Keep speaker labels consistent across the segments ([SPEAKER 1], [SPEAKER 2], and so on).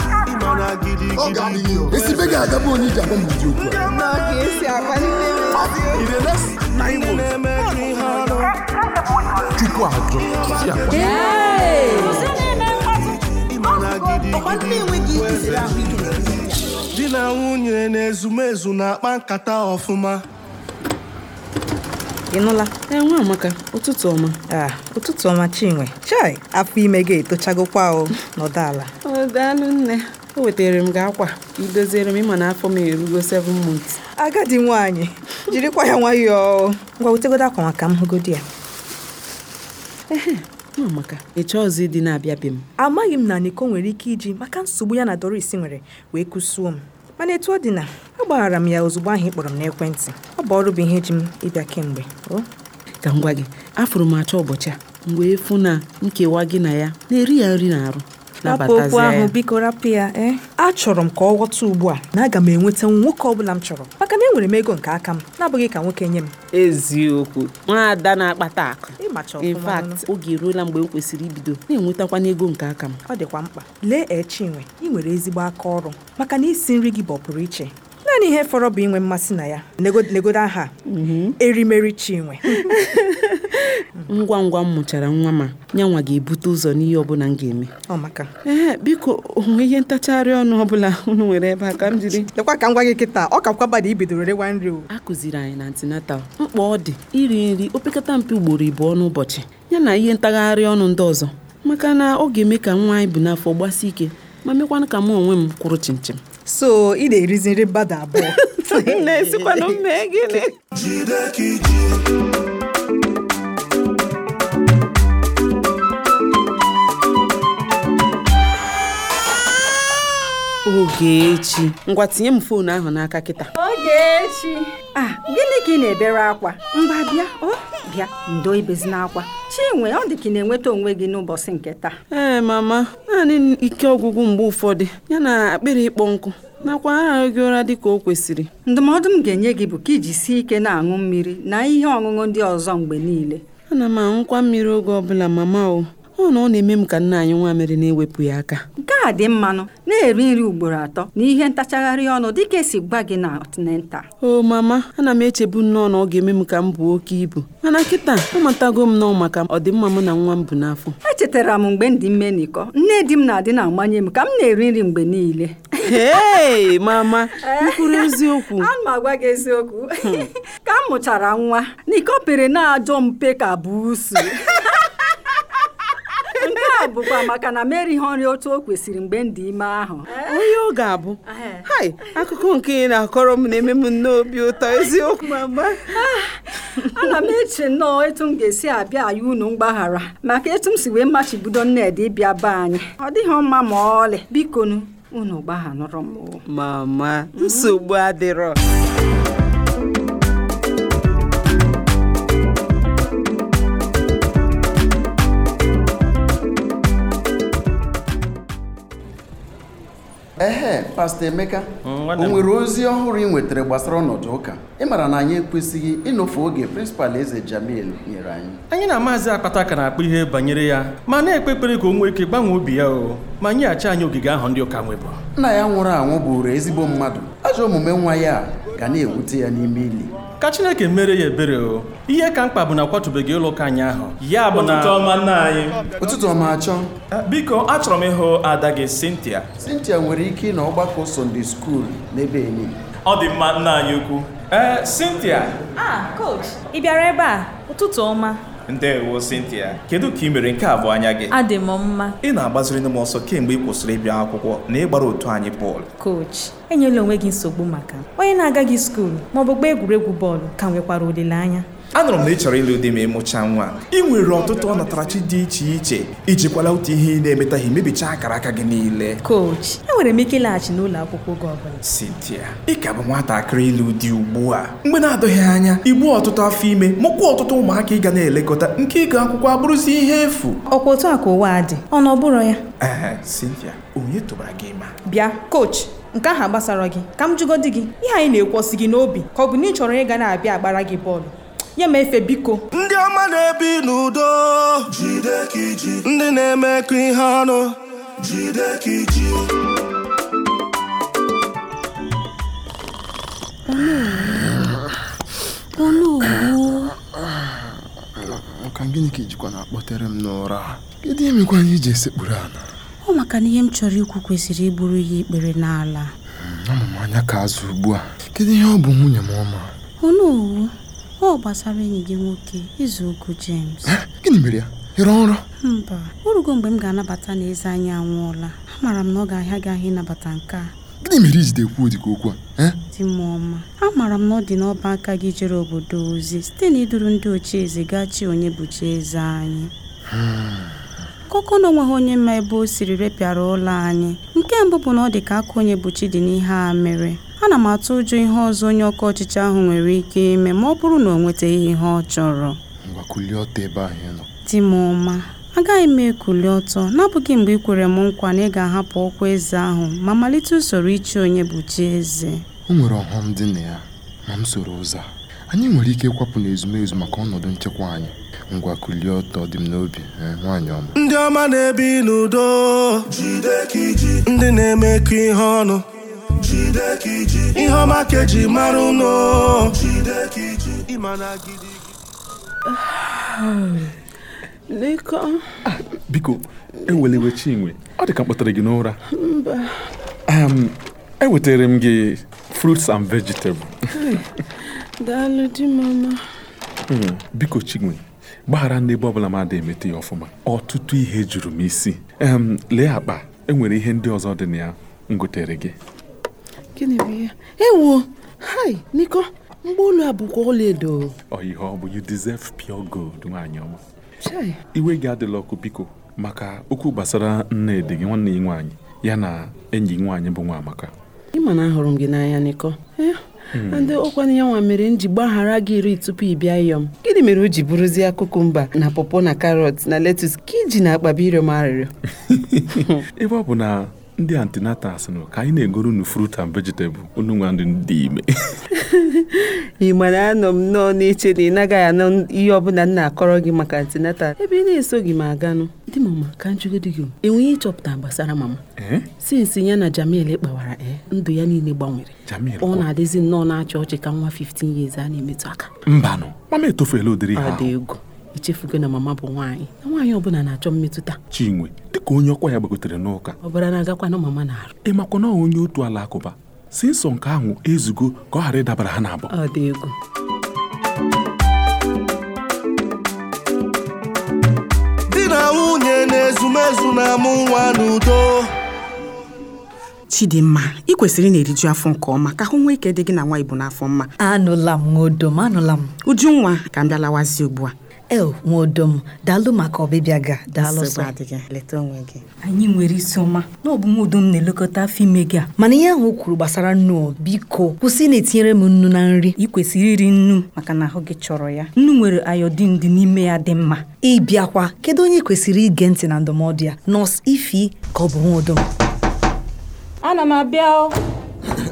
[SPEAKER 1] Ọ ga-adịghị o.
[SPEAKER 2] esi be ga-agabụ onye iji agwa m ụdị okwu a?
[SPEAKER 3] ka esi akwalite n'ezie
[SPEAKER 1] Ire na-esi na Imo. Chukwu ajọ. Isi akwa.
[SPEAKER 3] ọkwa ndị enweghị ike siri ahụ ike
[SPEAKER 4] di na nwunye na-ezumezu na-akpa nkata ọfụma
[SPEAKER 5] ị nụla
[SPEAKER 6] E,
[SPEAKER 5] enwe amaka ụtụtụ ọma
[SPEAKER 6] Ah, ụtụtụ ọma chinwe chai afọ ime gị etochagokwa o nọdụ ala
[SPEAKER 5] o daalụ nne o wetara m gị akwa idoziere m ịma na afọ m erugo 7 months
[SPEAKER 6] agadi nwaanyị jirikwa ya nwayọọ ngwa wetegodo akwa maka m hụgodi ya
[SPEAKER 5] nwa amaka ị chọọ ọzọ ịdị na-abịa be m
[SPEAKER 6] amaghị m na niko nwere ike iji maka nsogbu ya na doris nwere wee kụsuo m mana etu ọ dị na agbaghara m ya ozugbo ahụ ị kpọrọ m n'ekwentị ọ bụ ọrụ bụ ihe ji m ịbịa kemgbe o
[SPEAKER 5] ka m gwa gị afụrụ m achọ ụbọchị a m wee fụ na nkewa gị na ya na-eri ya nri na arụ
[SPEAKER 6] rapụ okwu
[SPEAKER 5] nabatazie
[SPEAKER 6] ahụ
[SPEAKER 5] ya.
[SPEAKER 6] biko rapụ ya e achọrọ m ka ọ ghọta ugbu a na aga m enweta nwoke ọ bụla m chọrọ maka na enwere m ego nke aka m na-abụghị ka nwoke nye m
[SPEAKER 5] eziokwu nwaada na-akpata akụ
[SPEAKER 6] Ịmacha
[SPEAKER 5] in
[SPEAKER 6] ọfụma
[SPEAKER 5] fact oge eruola mgbe m kwesịrị ibido na-enwetakwana ego nke aka m
[SPEAKER 6] ọ dịkwa mkpa lee echinwe ị nwere ezigbo aka ọrụ maka na isi nri gị bọpụrụ iche naanị ihe fọrọ bụ inwe mmasị na ya Nego- legodo aha erimeri chinwe Mm.
[SPEAKER 5] ngwa ngwa m mụchara nwa ma ya nwa ga-ebute ụzọ n'ihe ọbụla m ga-eme
[SPEAKER 6] ọ maka
[SPEAKER 5] ee biko onwe ihe ntachagharị ọnụ ọbụla unu nwere ebe a ka m jiri
[SPEAKER 6] lekwa ka m gwa gị kịta ọ ka kwaba da ibidoro rewa nri o
[SPEAKER 5] a kụziri anyị na antinatal mkpa ọ dị iri nri opekata mpe ugboro ịbụọ n'ụbọchị yana ihe ntagharị ọnụ ndị ọzọ maka na ọ ga-eme ka nwa anyị bụ n'afọ gbasie ike ma mekwana ka mụ onwe m kwụrụ chinchin
[SPEAKER 6] so ị na-erizi nri mmadụ abụọ
[SPEAKER 5] na-esikwanụ mmee gịnị
[SPEAKER 4] jide ka iji
[SPEAKER 5] Ogechi ngwa tinye m foonu ahụ n'aka kịta
[SPEAKER 3] Ogechi ah gịnị ka ị na-ebere akwa mgba bịa o bịa ndo ibezina akwa chinwe ọ dị ka ị na-enweta onwe gị n'ụbọchị nke taa
[SPEAKER 5] ee mama naanị ike ọgwụgwụ mgbe ụfọdụ ya na akpịrị ịkpọ nkụ nakwa arahụghị ụra dị ka o kwesịrị
[SPEAKER 3] ndụmọdụ m ga-enye gị bụ ka iji sie ike na-aṅụ mmiri na ihe ọṅụṅụ ndị ọzọ mgbe niile
[SPEAKER 5] ana m aṅụkwa mmiri oge ọbụla mama o ọ na ọ na-eme m ka nna anyị nwa mere na-ewepụ ya aka
[SPEAKER 3] nke a dị mmanụ na-eri nri ugboro atọ na ihe ntachagharị ọnụ dịka esi gwa gị na ọtinenta
[SPEAKER 5] o mama ana m echebu nnọọ na ọ ga-eme m ka m buo oke ibu mana kịta amatago m nọọ maka ọdịmma m na nwa m bụ n'afọ
[SPEAKER 3] echetara m mgbe m dị ime n'ikọ nne di m na-adị na-amanye m ka m na-eri nri mgbe niile
[SPEAKER 5] hei mama mkpụrụ eziokwu
[SPEAKER 3] ana m agwa gị eziokwu ka m mụchara nwa n'iko pere na-ajọ mpe ka buusu nke a bụkwa maka na m erighị nri otu o kwesịrị mgbe m dị ime ahụ
[SPEAKER 5] onye ọ ga-abụ hai akụkọ nke ị na-akọrọ m na-eme m nnọọ obi ụtọ eziokwu mama
[SPEAKER 3] ana m eche nnọọ etu m ga-esi abịa anyị unu mgbaghara maka etu m si wee machibido nnedị ịbịa be anyị ọ dịghị mma ma ọlị bikonu unu gbaghanụrụ m o.
[SPEAKER 5] mama nsogbu adịrọ
[SPEAKER 1] Ehe, Pastọ Emeka,
[SPEAKER 7] Mm,
[SPEAKER 1] o
[SPEAKER 7] nwanne m.
[SPEAKER 1] nwere ozi ọhụrụ ị nwetara gbasara ọnọdụ ụka? Ị maara na anyị ekwesịghị ịnọfe oge prịnsịpal Eze Jamil nyere anyị.
[SPEAKER 7] anyị na maazị akpata ka na-akpọ ihe banyere ya ma na-ekpe ekpere ka o nwee ike gbanwee obi ya o ma nyeghachi anyị ogige ahụ ndị ụka nwebụ
[SPEAKER 1] Nna ya nwụrụ anwụ bụrụ ezigbo mmadụ. Ajọ omume nwa ya a ga na-ewute ya n'ime ili.
[SPEAKER 7] ka chineke mere ya ebere o ihe ka mkpa bụ na akwatụbeghị ụlọ ụka anyị ahụ ya bụ na
[SPEAKER 1] Ụtụtụ ọma achọ,
[SPEAKER 8] biko achọrọ m ịhụ ada gị Cynthia
[SPEAKER 1] Cynthia nwere ike ịnọ ọgbakọ Sunday skuul n'ebe e enyi.
[SPEAKER 8] ọ dị mma nna anyị ukwu ee Cynthia
[SPEAKER 9] Ah, coach, ị bịara ebe a? Ụtụtụ ọma.
[SPEAKER 8] ndewo Cynthia kedu ka ị mere nke a bụ anya gị
[SPEAKER 9] Adị m mma,
[SPEAKER 8] ị na-agbaziri m ọsọ kemgbe ị kwụsịrị ịbịa akwụkwọ na ịgbara otu anyị bọọlụ
[SPEAKER 9] coach. Enyela onwe gị nsogbu maka m. onye na-agaghị skuulu ma ọ bụ gbaa egwuregwu bọọlụ ka nwekwara olileanya.
[SPEAKER 8] anụrụ m na ị chọrọ ịlụ di ma ịmụcha nwa ị nwere ọtụtụ ọnatarachi dị iche iche ijikwala otu ihe ị na-emetaghị mebicha akara aka gị niile
[SPEAKER 9] Coach, enwere m ike ịlaghachi n'ụlọ akwụkwọ oge ọbụla.
[SPEAKER 8] Cynthia ị ka bụ nwatakịrị ịlụ di ugbu a mgbe na-adịghị anya igbu ọtụtụ afọ ime mụkwa ọtụtụ ụmụaka ị ga na-elekọta nke ịga akwụkwọ abụrụzi ihe efu
[SPEAKER 9] Ọkwa otu a ka ụwa a dị, ọ na ọ bụrụ ya.
[SPEAKER 8] ee Cynthia onye tụbara gị ma
[SPEAKER 9] Bịa, coach, nke ahụ agbasara gị, ka m jụgodi gị. Ihe anyị na-ekwosi gị n'obi ka ọ bụ na ị chọrọ ịga na-abịa agbara gị bọọlụ. Ya ma efe biko.
[SPEAKER 4] ndị ọma na-ebi n'udo ndị na-emekọ ihe ọnụ jide ka iji
[SPEAKER 2] maka gịnị ka ijikwa na-akpọtere m n'ụra kedu emekwa ihe iji esekpuru ala
[SPEAKER 10] ọ maka na ihe m chọrọ ikwu kwesịrị iburu ya ikpere n'ala
[SPEAKER 2] amụm anya ka azụ ugbu a kedu ihe ọ bụ nwunye m ọma
[SPEAKER 10] onowu ọ gbasara enyi gị nwoke izu okwu James
[SPEAKER 2] Eh, gịnị mere ya ịrọ nrọ
[SPEAKER 10] mba orugo mgbe m ga-anabata na eze anyị anwụọla amaara m na ọ ga-ahịa gị ahịa ịnabata nke a
[SPEAKER 2] gịnị mere ijide kwuo dịka okwu a Eh,
[SPEAKER 10] dị m ọma amaara m na ọ dị n'ọba aka gị jere obodo ozi site na iduru ndị ochie eze gaa chi onye bụchi eze anyị koko na onweghị onye ma ebe o siri repịara ụlọ anyị nke mbụ bụ na ọ dị ka aka onye bụchi dị n'ihe a mere ana m atụ ụjọ ihe ọzọ onye ọkọ ọchịchị ahụ nwere ike ime ma ọ bụrụ na o nwetaghị ihe ọ chọrọ
[SPEAKER 2] ngwa kulie ọtọ ebe ahụ ị nọ
[SPEAKER 10] di m ọma agaghị m ekuli ọtọ n'abụghị mgbe ị kwere m nkwa na ị ga-ahapụ ọkwa eze ahụ ma malite usoro ichi onye bụchi eze
[SPEAKER 2] o nwere ọghọm dị na ya ma m soro ụzọ a. anyị nwere ike ịkwapụ n'ezumezu maka ọnọdụ nchekwa anyị ngwa kulie ọtọ dị m n'obi eh, nwaanyị ọma
[SPEAKER 4] ndị ọma na-ebi n'udo ndị na-emekọ ihe ọnụ ihe ọma ka eji mara unu ịma na gidi
[SPEAKER 5] Leko,
[SPEAKER 11] biko eweliwe chinwe ọ dị ka mkpọtara gị n'ụra Em, ewetara m gị fruits and vegetable
[SPEAKER 5] daalụ di m ọma.
[SPEAKER 11] Mm, biko chinwe gbaghara n'ebe ọbụla m ada emeta ya ọfụma ọtụtụ ihe juru m isi Em, lee akpa enwere ihe ndị ọzọ dị na ya m gotere gị
[SPEAKER 5] Gịnị bụ ya? Ewo, hai, Niko, mgba olu a bụkwa ọlaedo.
[SPEAKER 11] ọ ihe ọ bụ you deserve pure gold nwaanyị ọma
[SPEAKER 5] Chai,
[SPEAKER 11] iwe gị adịla ọkụ biko maka okwu gbasara nnedi gị nwanne ya nwaanyị ya na enyi gị nwaanyị bụ nwa amaka
[SPEAKER 5] ị ma na ahụrụ m gị n'anya Niko. Eh,
[SPEAKER 11] Hmm.
[SPEAKER 5] ndị ọkwa na ya nwa mere m ji gbaghara gị iri tupu ị bịa ịyọm. Gịnị mere o ji bụrụzie kukumba na pọpọ na karọt na letus ka iji na-akpa bụ ịrịọ m arịrịọ?
[SPEAKER 11] ebe ọ bụ na ndị antinatas nọ ka anyị na-egoro unu fruit and vegetable unu nwa ndị dị ime
[SPEAKER 5] ị ma na anọ m nnọọ na-eche na ị naghị anọ ihe ọbụla m na-akọrọ gị maka antinatal ebe ị na-esoghị m aganụ di mama ka njugodi gị enweghị ịchọpụta gbasara mama
[SPEAKER 11] Eh?
[SPEAKER 5] sinsi ya na jamil kpawara eh, ndụ ya niile gbanwere
[SPEAKER 11] Jamil
[SPEAKER 5] ọ
[SPEAKER 11] kwa-
[SPEAKER 5] na-adịzi nnọọ na-achị ọchị ka nwa 15 years a na-emetụ aka
[SPEAKER 11] mbanụ mama etofeela ụdịrị ha
[SPEAKER 5] ọ dị
[SPEAKER 11] ahụ.
[SPEAKER 5] egwu ichefugo na mama bụ nwaanyị na nwaanyị ọbụla na-achọ mmetụta
[SPEAKER 11] chinwe dịka onye ọkwa ya gbagotere n'ụka
[SPEAKER 5] ọbara na-agakwa na mama na-arụ
[SPEAKER 11] ị makwa na onye otu alakụba si nsọ nke ahụ ezugo ka ọ ghara ịdabara ha n'abụọ
[SPEAKER 5] ọ dị egwu
[SPEAKER 4] di na nwunye na-ezumezu na-amụ nwa n'udo
[SPEAKER 12] chidimma ị kwesịrị ị na-eriju afọ nke ọma ka hụ nwa ike dị gị na nwa ibu n'afọ mma
[SPEAKER 13] anụla m nwodom anụla m
[SPEAKER 12] ujunwa ka m bịa lawazi ugbu a
[SPEAKER 13] el nwodom daalụ maka ọbịbịa ga daalụ
[SPEAKER 12] Nsogbu
[SPEAKER 13] sọ
[SPEAKER 12] adịghị, leta onwe gị
[SPEAKER 13] anyị nwere isi ọma na ọ bụ m udom na-elekọta afọ ime gị a mana ihe ahụ o kwuru gbasara nnu biko kwụsị ị na-etinyere m nnu na nri ị kwesịrị iri nnu maka na ahụ gị chọrọ ya nnu nwere ayodin dị n'ime ya dị mma ịbịakwa kedu onye kwesịrị ige ntị na ndụmọdụ ya nọọsụ ifi ka ọ bụ nwodom
[SPEAKER 9] ana m abịa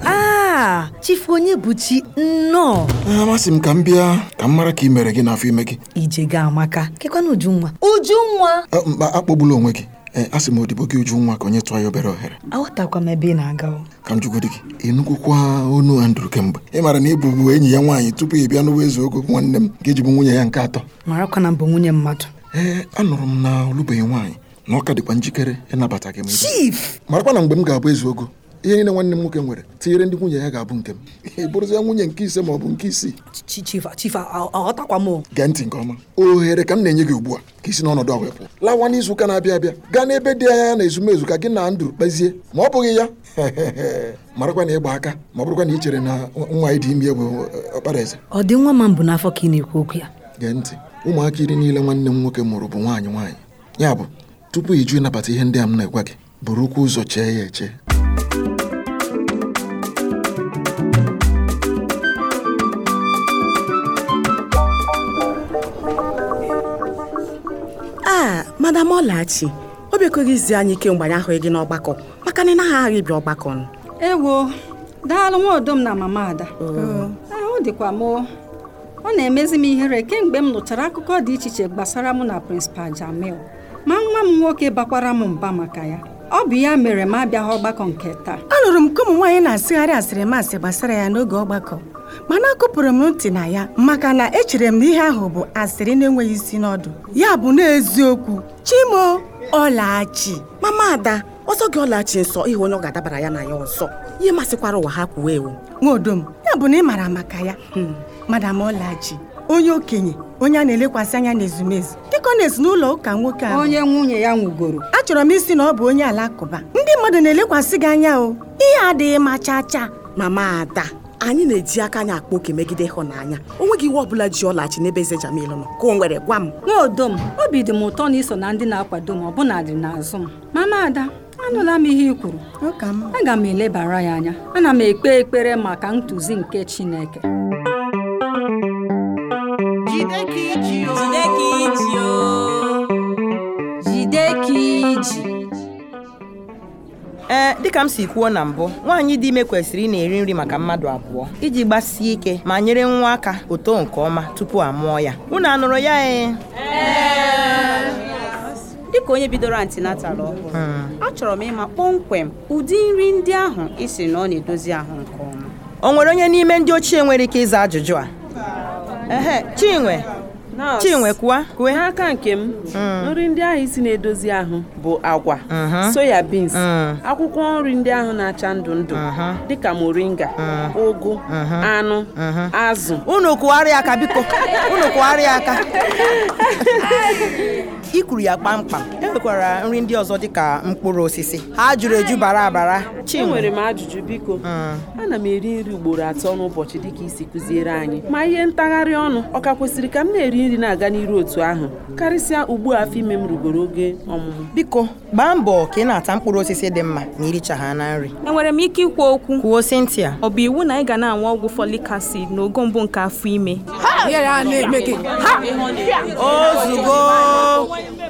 [SPEAKER 13] a chifu onye bụ chi nnọọ
[SPEAKER 2] amasị m ka m bịa ka m mara ka ị mere gị n'afọ ime gị
[SPEAKER 13] ije gị amaka kekwana ujunwa ujunwa
[SPEAKER 2] Eh, mkpa akpọgbula onwe gị Eh, a sị m odibo gị uju nwa ka onye tụọ ya obere ohere
[SPEAKER 13] aghọtakwa m ebe ị na-aga o.
[SPEAKER 2] ka m jugodi gị ịnụkwukwa onu andrew kemgbe ị maara na ịbụbu enyi ya nwaanyị tupu ị bịa n'ụwa ezu ogo nwanne m ka ejibu nwunye ya nke atọ
[SPEAKER 13] marakwa na mbụ nwunye mmadụ
[SPEAKER 2] ee Eh, anụrụ m na olụbeghị nwaanyị na ọ ka dịkwa njikere ịnabata gị ma ị bịa.
[SPEAKER 13] chief
[SPEAKER 2] marakwa na mgbe m ga-abụ ezu ogo ihe niile nwanne m nwoke nwere tinyere ndị nwunye ya ga-abụ nke m ị bụrụzie nwunye nke ise ma ọ bụ nke isii
[SPEAKER 13] Chi- chief chief a- aghọtakwa m o.
[SPEAKER 2] gee ntị nke ọma ohere ka m na-enye gị ugbu a ka isi n'ọnọdụ a wee pụọ lawa n'izuụka na-abịa abịa gaa n'ebe dị anya na ezumezu ka gị na ndụ kpezie ma ọ bụghị ya marakwa na ịgba aka ma ọ bụrụkwa na ị chere na nwa anyị dị ime bụ ọkpara eze
[SPEAKER 13] ọ dị nwa ma mbụ n'afọ ka ị na-ekwu okwu ya
[SPEAKER 2] gee ntị ụmụaka iri niile nwanne m nwoke mụrụ bụ nwaanyị nwaanyị ya bụ tupu iju ịnabata ihe ndị a m na-egwa gị burukwa ụzọ chee ya eche
[SPEAKER 12] a Ah, madam ọlachi o bịakoghịzi anyị kemgbe anyị ahụghị gị n'ọgbakọ maka na ị naghị aghị bịa ọgbakọ nụ.
[SPEAKER 3] ewo daalụ nwaodom na mama ada
[SPEAKER 13] Oh.
[SPEAKER 3] ahụ dịkwa m o. ọ na-emezi m ihere kemgbe m nụchara akụkọ dị iche iche gbasara mụ na prịnsịpal jamil ma nwa m nwoke bakwara m mba maka ya ọ bụ ya mere m abịaghị ọgbakọ nke taa
[SPEAKER 12] anụrụ m ka ụmụ nwaanyị na-asịgharị asịrị masị gbasara ya n'oge ọgbakọ mana akụpụrụ m ntị na ya maka na echere m na ihe ahụ bụ asịrị na-enweghị isi n'ọdụ ya bụ n'eziokwu chimo ọlachi mama ada ọsọ gị ọlachi nsọ ihe onye ọ ga-adabara ya na ya ọzọ ihe masịkwara ụwa ha kwuo ewu nwaodom ya bụ na ị maara maka ya Hmm, madam ọlachi onye okenye onye a na-elekwasị anya n'ezumezu dịkọnes n'ụlọ ụka nwoke ahụ
[SPEAKER 3] onye nwunye ya nwugoro
[SPEAKER 12] achọrọ m isi na ọ bụ onye alakụba ndị mmadụ na-elekwasị gị anya o ihe adịghị ma chaa chaa mama ada anyị na-eji aka anyị akpa oke megide ịhụnanya o nweghị iwu ọbụla ji ọlachi n'ebe eze jamil nọ ka o nwere gwa m
[SPEAKER 3] nwaodom obi dị m ụtọ na iso na ndị na-akwado m ọbụnadị n'azụ m mama ada anụla m ihe i kwuru aga m elebara ya anya ana m ekpe ekpere maka ntuzi nke chineke
[SPEAKER 6] Jide ka iji o. Jide ka iji o. Jide ka iji.
[SPEAKER 14] ee E, dịka m si kwuo na mbụ nwaanyị dị ime kwesịrị ị na-eri nri maka mmadụ abụọ iji gbasie ike ma nyere nwa aka oto nke ọma tupu a mụọ ya unu anụrụ ya e? ee
[SPEAKER 10] dịka onye bidoro antinatal ọhụrụ
[SPEAKER 14] Hmm.
[SPEAKER 10] achọrọ m ịma kpọmkwem ụdị nri ndị ahụ ị siri na ọ na-edozi ahụ nke ọma
[SPEAKER 14] o nwere onye n'ime ndị ochie nwere ike ịza ajụjụ a ehe chinwe chinwe kwua kwue
[SPEAKER 5] n'aka nke m nri ndị ahụ isi na-edozi ahụ bụ agwa soya beans akwụkwọ nri ndị ahụ na-acha ndụ ndụ dịka moringa ụgụ anụ azụ
[SPEAKER 14] unu kụgharịa aka biko unu kụgharịa aka i kwuru ya kpamkpam e nwekwara nri ndị ọzọ dịka mkpụrụ osisi ha jụrụ eju bara abara
[SPEAKER 5] enwere e m ajụjụ biko
[SPEAKER 9] Ah.
[SPEAKER 5] ana m eri nri ugboro atọ n'ụbọchị dịka isi kụziere anyị ma ihe ntagharị ọnụ ọ ka kwesịrị ka m na-eri nri na-aga n'iru otu ahụ karịsịa ugbu a afọ ime m rugoro oge ọmụmụ
[SPEAKER 14] biko gbaa mbọ ka ị na-ata mkpụrụ osisi dị mma na iricha ha na nri
[SPEAKER 10] enwere m ike ikwu okwu
[SPEAKER 14] kwuo Cynthia
[SPEAKER 10] ọ bụ iwu na anyị ga na-aṅụ ọgwụ folic acid n'ogo mbụ nke afọ ime
[SPEAKER 14] ozugbo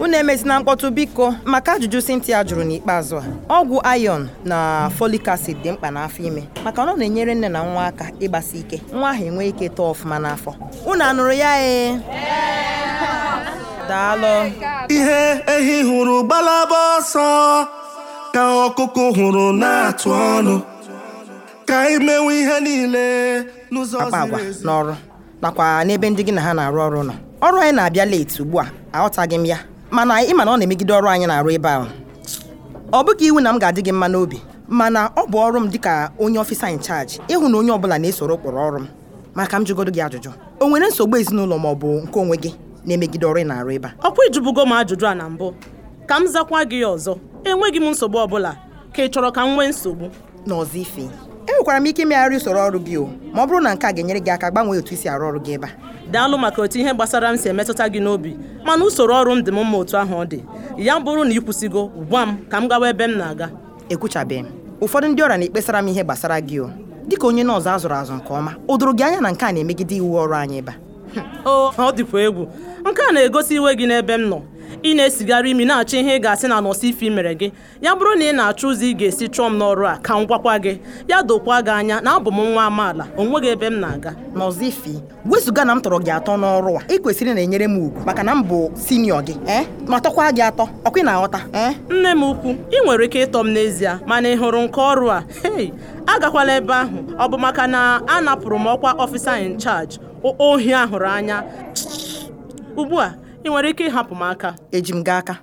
[SPEAKER 14] unu emezina mkpọtụ biko maka ajụjụ Cynthia jụrụ n'ikpeazụ a ọgwụ ayon na folic acid dị mkpa n'afọ ime maka na ọ na-enyere nne na nwa aka ịgbasi ike nwa ahụ enwe ike tọọ ọfụma n'afọ unu anụrụ ya ee daalụ
[SPEAKER 4] ihe ehi hụrụ gbalaba ọsọ ka ọkụkọ hụrụ na-atụ ọnụ ka anyị mewe ihe niile n'ụzọ
[SPEAKER 14] akpa agwa
[SPEAKER 4] ziri ezi
[SPEAKER 14] n'ọrụ nakwa n'ebe ndị gị na ha na-arụ ọrụ nọ ọrụ anyị na-abịa leti ugbu a aghọtaghị m ya mana ị ma na ọ na-emegide ọrụ anyị na-arụ ebe ahụ ọ bụghị iwu na m ga-adị gị mma n'obi mana ọ bụ ọrụ m dịka onye ọfịsa incharge ịhụ na onye ọbụla na-esoro ụkpụrụ ọrụ m maka m jụgodo gị ajụjụ o nwere nsogbu ezinụlọ ma ọ bụ nke onwe gị na-emegide ọrụ ị na-arụ ebe a
[SPEAKER 9] ọkwa ịjụbugo m ajụjụ a na mbụ ka m zakwa gị ya ọzọ enweghị m nsogbu ọbụla ka ị chọrọ ka m nwee nsogbu
[SPEAKER 14] n'ọzọ ife enwekwara m ike imegharị usoro ọrụ gị o ma ọ bụrụ na nke a ga-enyere gị aka gbanwee otu i si arụ ọrụ gị ebe a
[SPEAKER 9] daalụ maka otu ihe gbasara m si emetụta gị n'obi mana usoro ọrụ m dị m mma otu ahụ ọ dị ya bụrụ na ị kwụsịgo gwa m ka m gawa ebe m na-aga
[SPEAKER 14] ekwuchabeghị m ụfọdụ ndị ọrịa na-ekpesara m ihe gbasara gị o dịka onye nọọsụ azụrụ azụ nke ọma o doro gị anya na nke a na-emegide iwu ọrụ anyị ebe a
[SPEAKER 9] o ọ dịkwa egwu nke a na-egosi iwe gị n'ebe m nọ ị na-esigara imi na-achọ ihe ị ga-asị na nọsụ ife mere gị ya bụrụ na ị na-achọ ụzọ ị ga-esi chọọ m n'ọrụ a ka m gwakwa gị ya dokwa gị anya na abụ m nwa amaala o nweghị ebe m na-aga
[SPEAKER 14] n'ọzọ ifi wezụga na m tọrọ gị atọ n'ọrụ a ị kwesịrị na-enyere m ugwu maka na m bụ sinio gị ee ma tọkwa gị atọ ọkwa ị na-aghọta eh? ee
[SPEAKER 9] nne m ukwu ị nwere ike ịtọ m n'ezie mana ị hụrụ nke ọrụ a hei agakwala ebe ahụ ọ bụ maka na a napụrụ m ọkwa ọfịsa in charge o- ohi ahụrụ anya ugbu a ị nwere ike ịhapụ m aka
[SPEAKER 14] eji m gị aka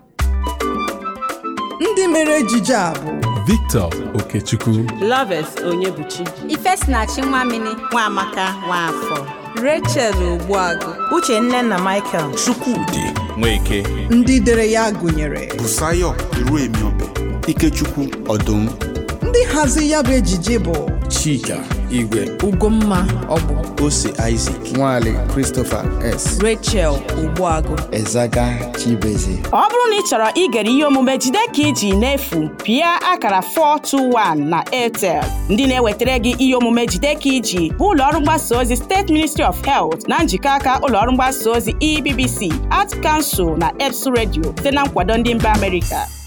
[SPEAKER 9] ndị mere ejije a bụ
[SPEAKER 11] Victor Okechukwu
[SPEAKER 5] Loves Onyebuchi
[SPEAKER 6] Ifesinachi Nwamini Nwamaka Nwafọ Rachel Ogbuagụ
[SPEAKER 14] Uche nne na Michael
[SPEAKER 8] Chukwudi Nweke
[SPEAKER 1] ndị dere ya gụnyere
[SPEAKER 8] Busayo Iruemiobe Ikechukwu Ọdụm
[SPEAKER 1] ndị hazi ya bụ ejije bụ
[SPEAKER 8] Chika Igwe
[SPEAKER 1] ugomma ọgbụ
[SPEAKER 8] Ose Isaac Nwale Christopher S
[SPEAKER 1] rachel ogbuagụ
[SPEAKER 8] Ezaga Chibeze
[SPEAKER 15] ọ bụrụ na ị chọrọ igere ihe omume jide ka iji n'efu pịa akara 421 na airtel ndị na-ewetara gị ihe omume jide ka iji bụ ụlọọrụ mgbasa ozi steeti ministry of health na njikọ aka ụlọọrụ E mgbasa ozi ebbc art kansụl na eps redio site na nkwado ndị mba amerịka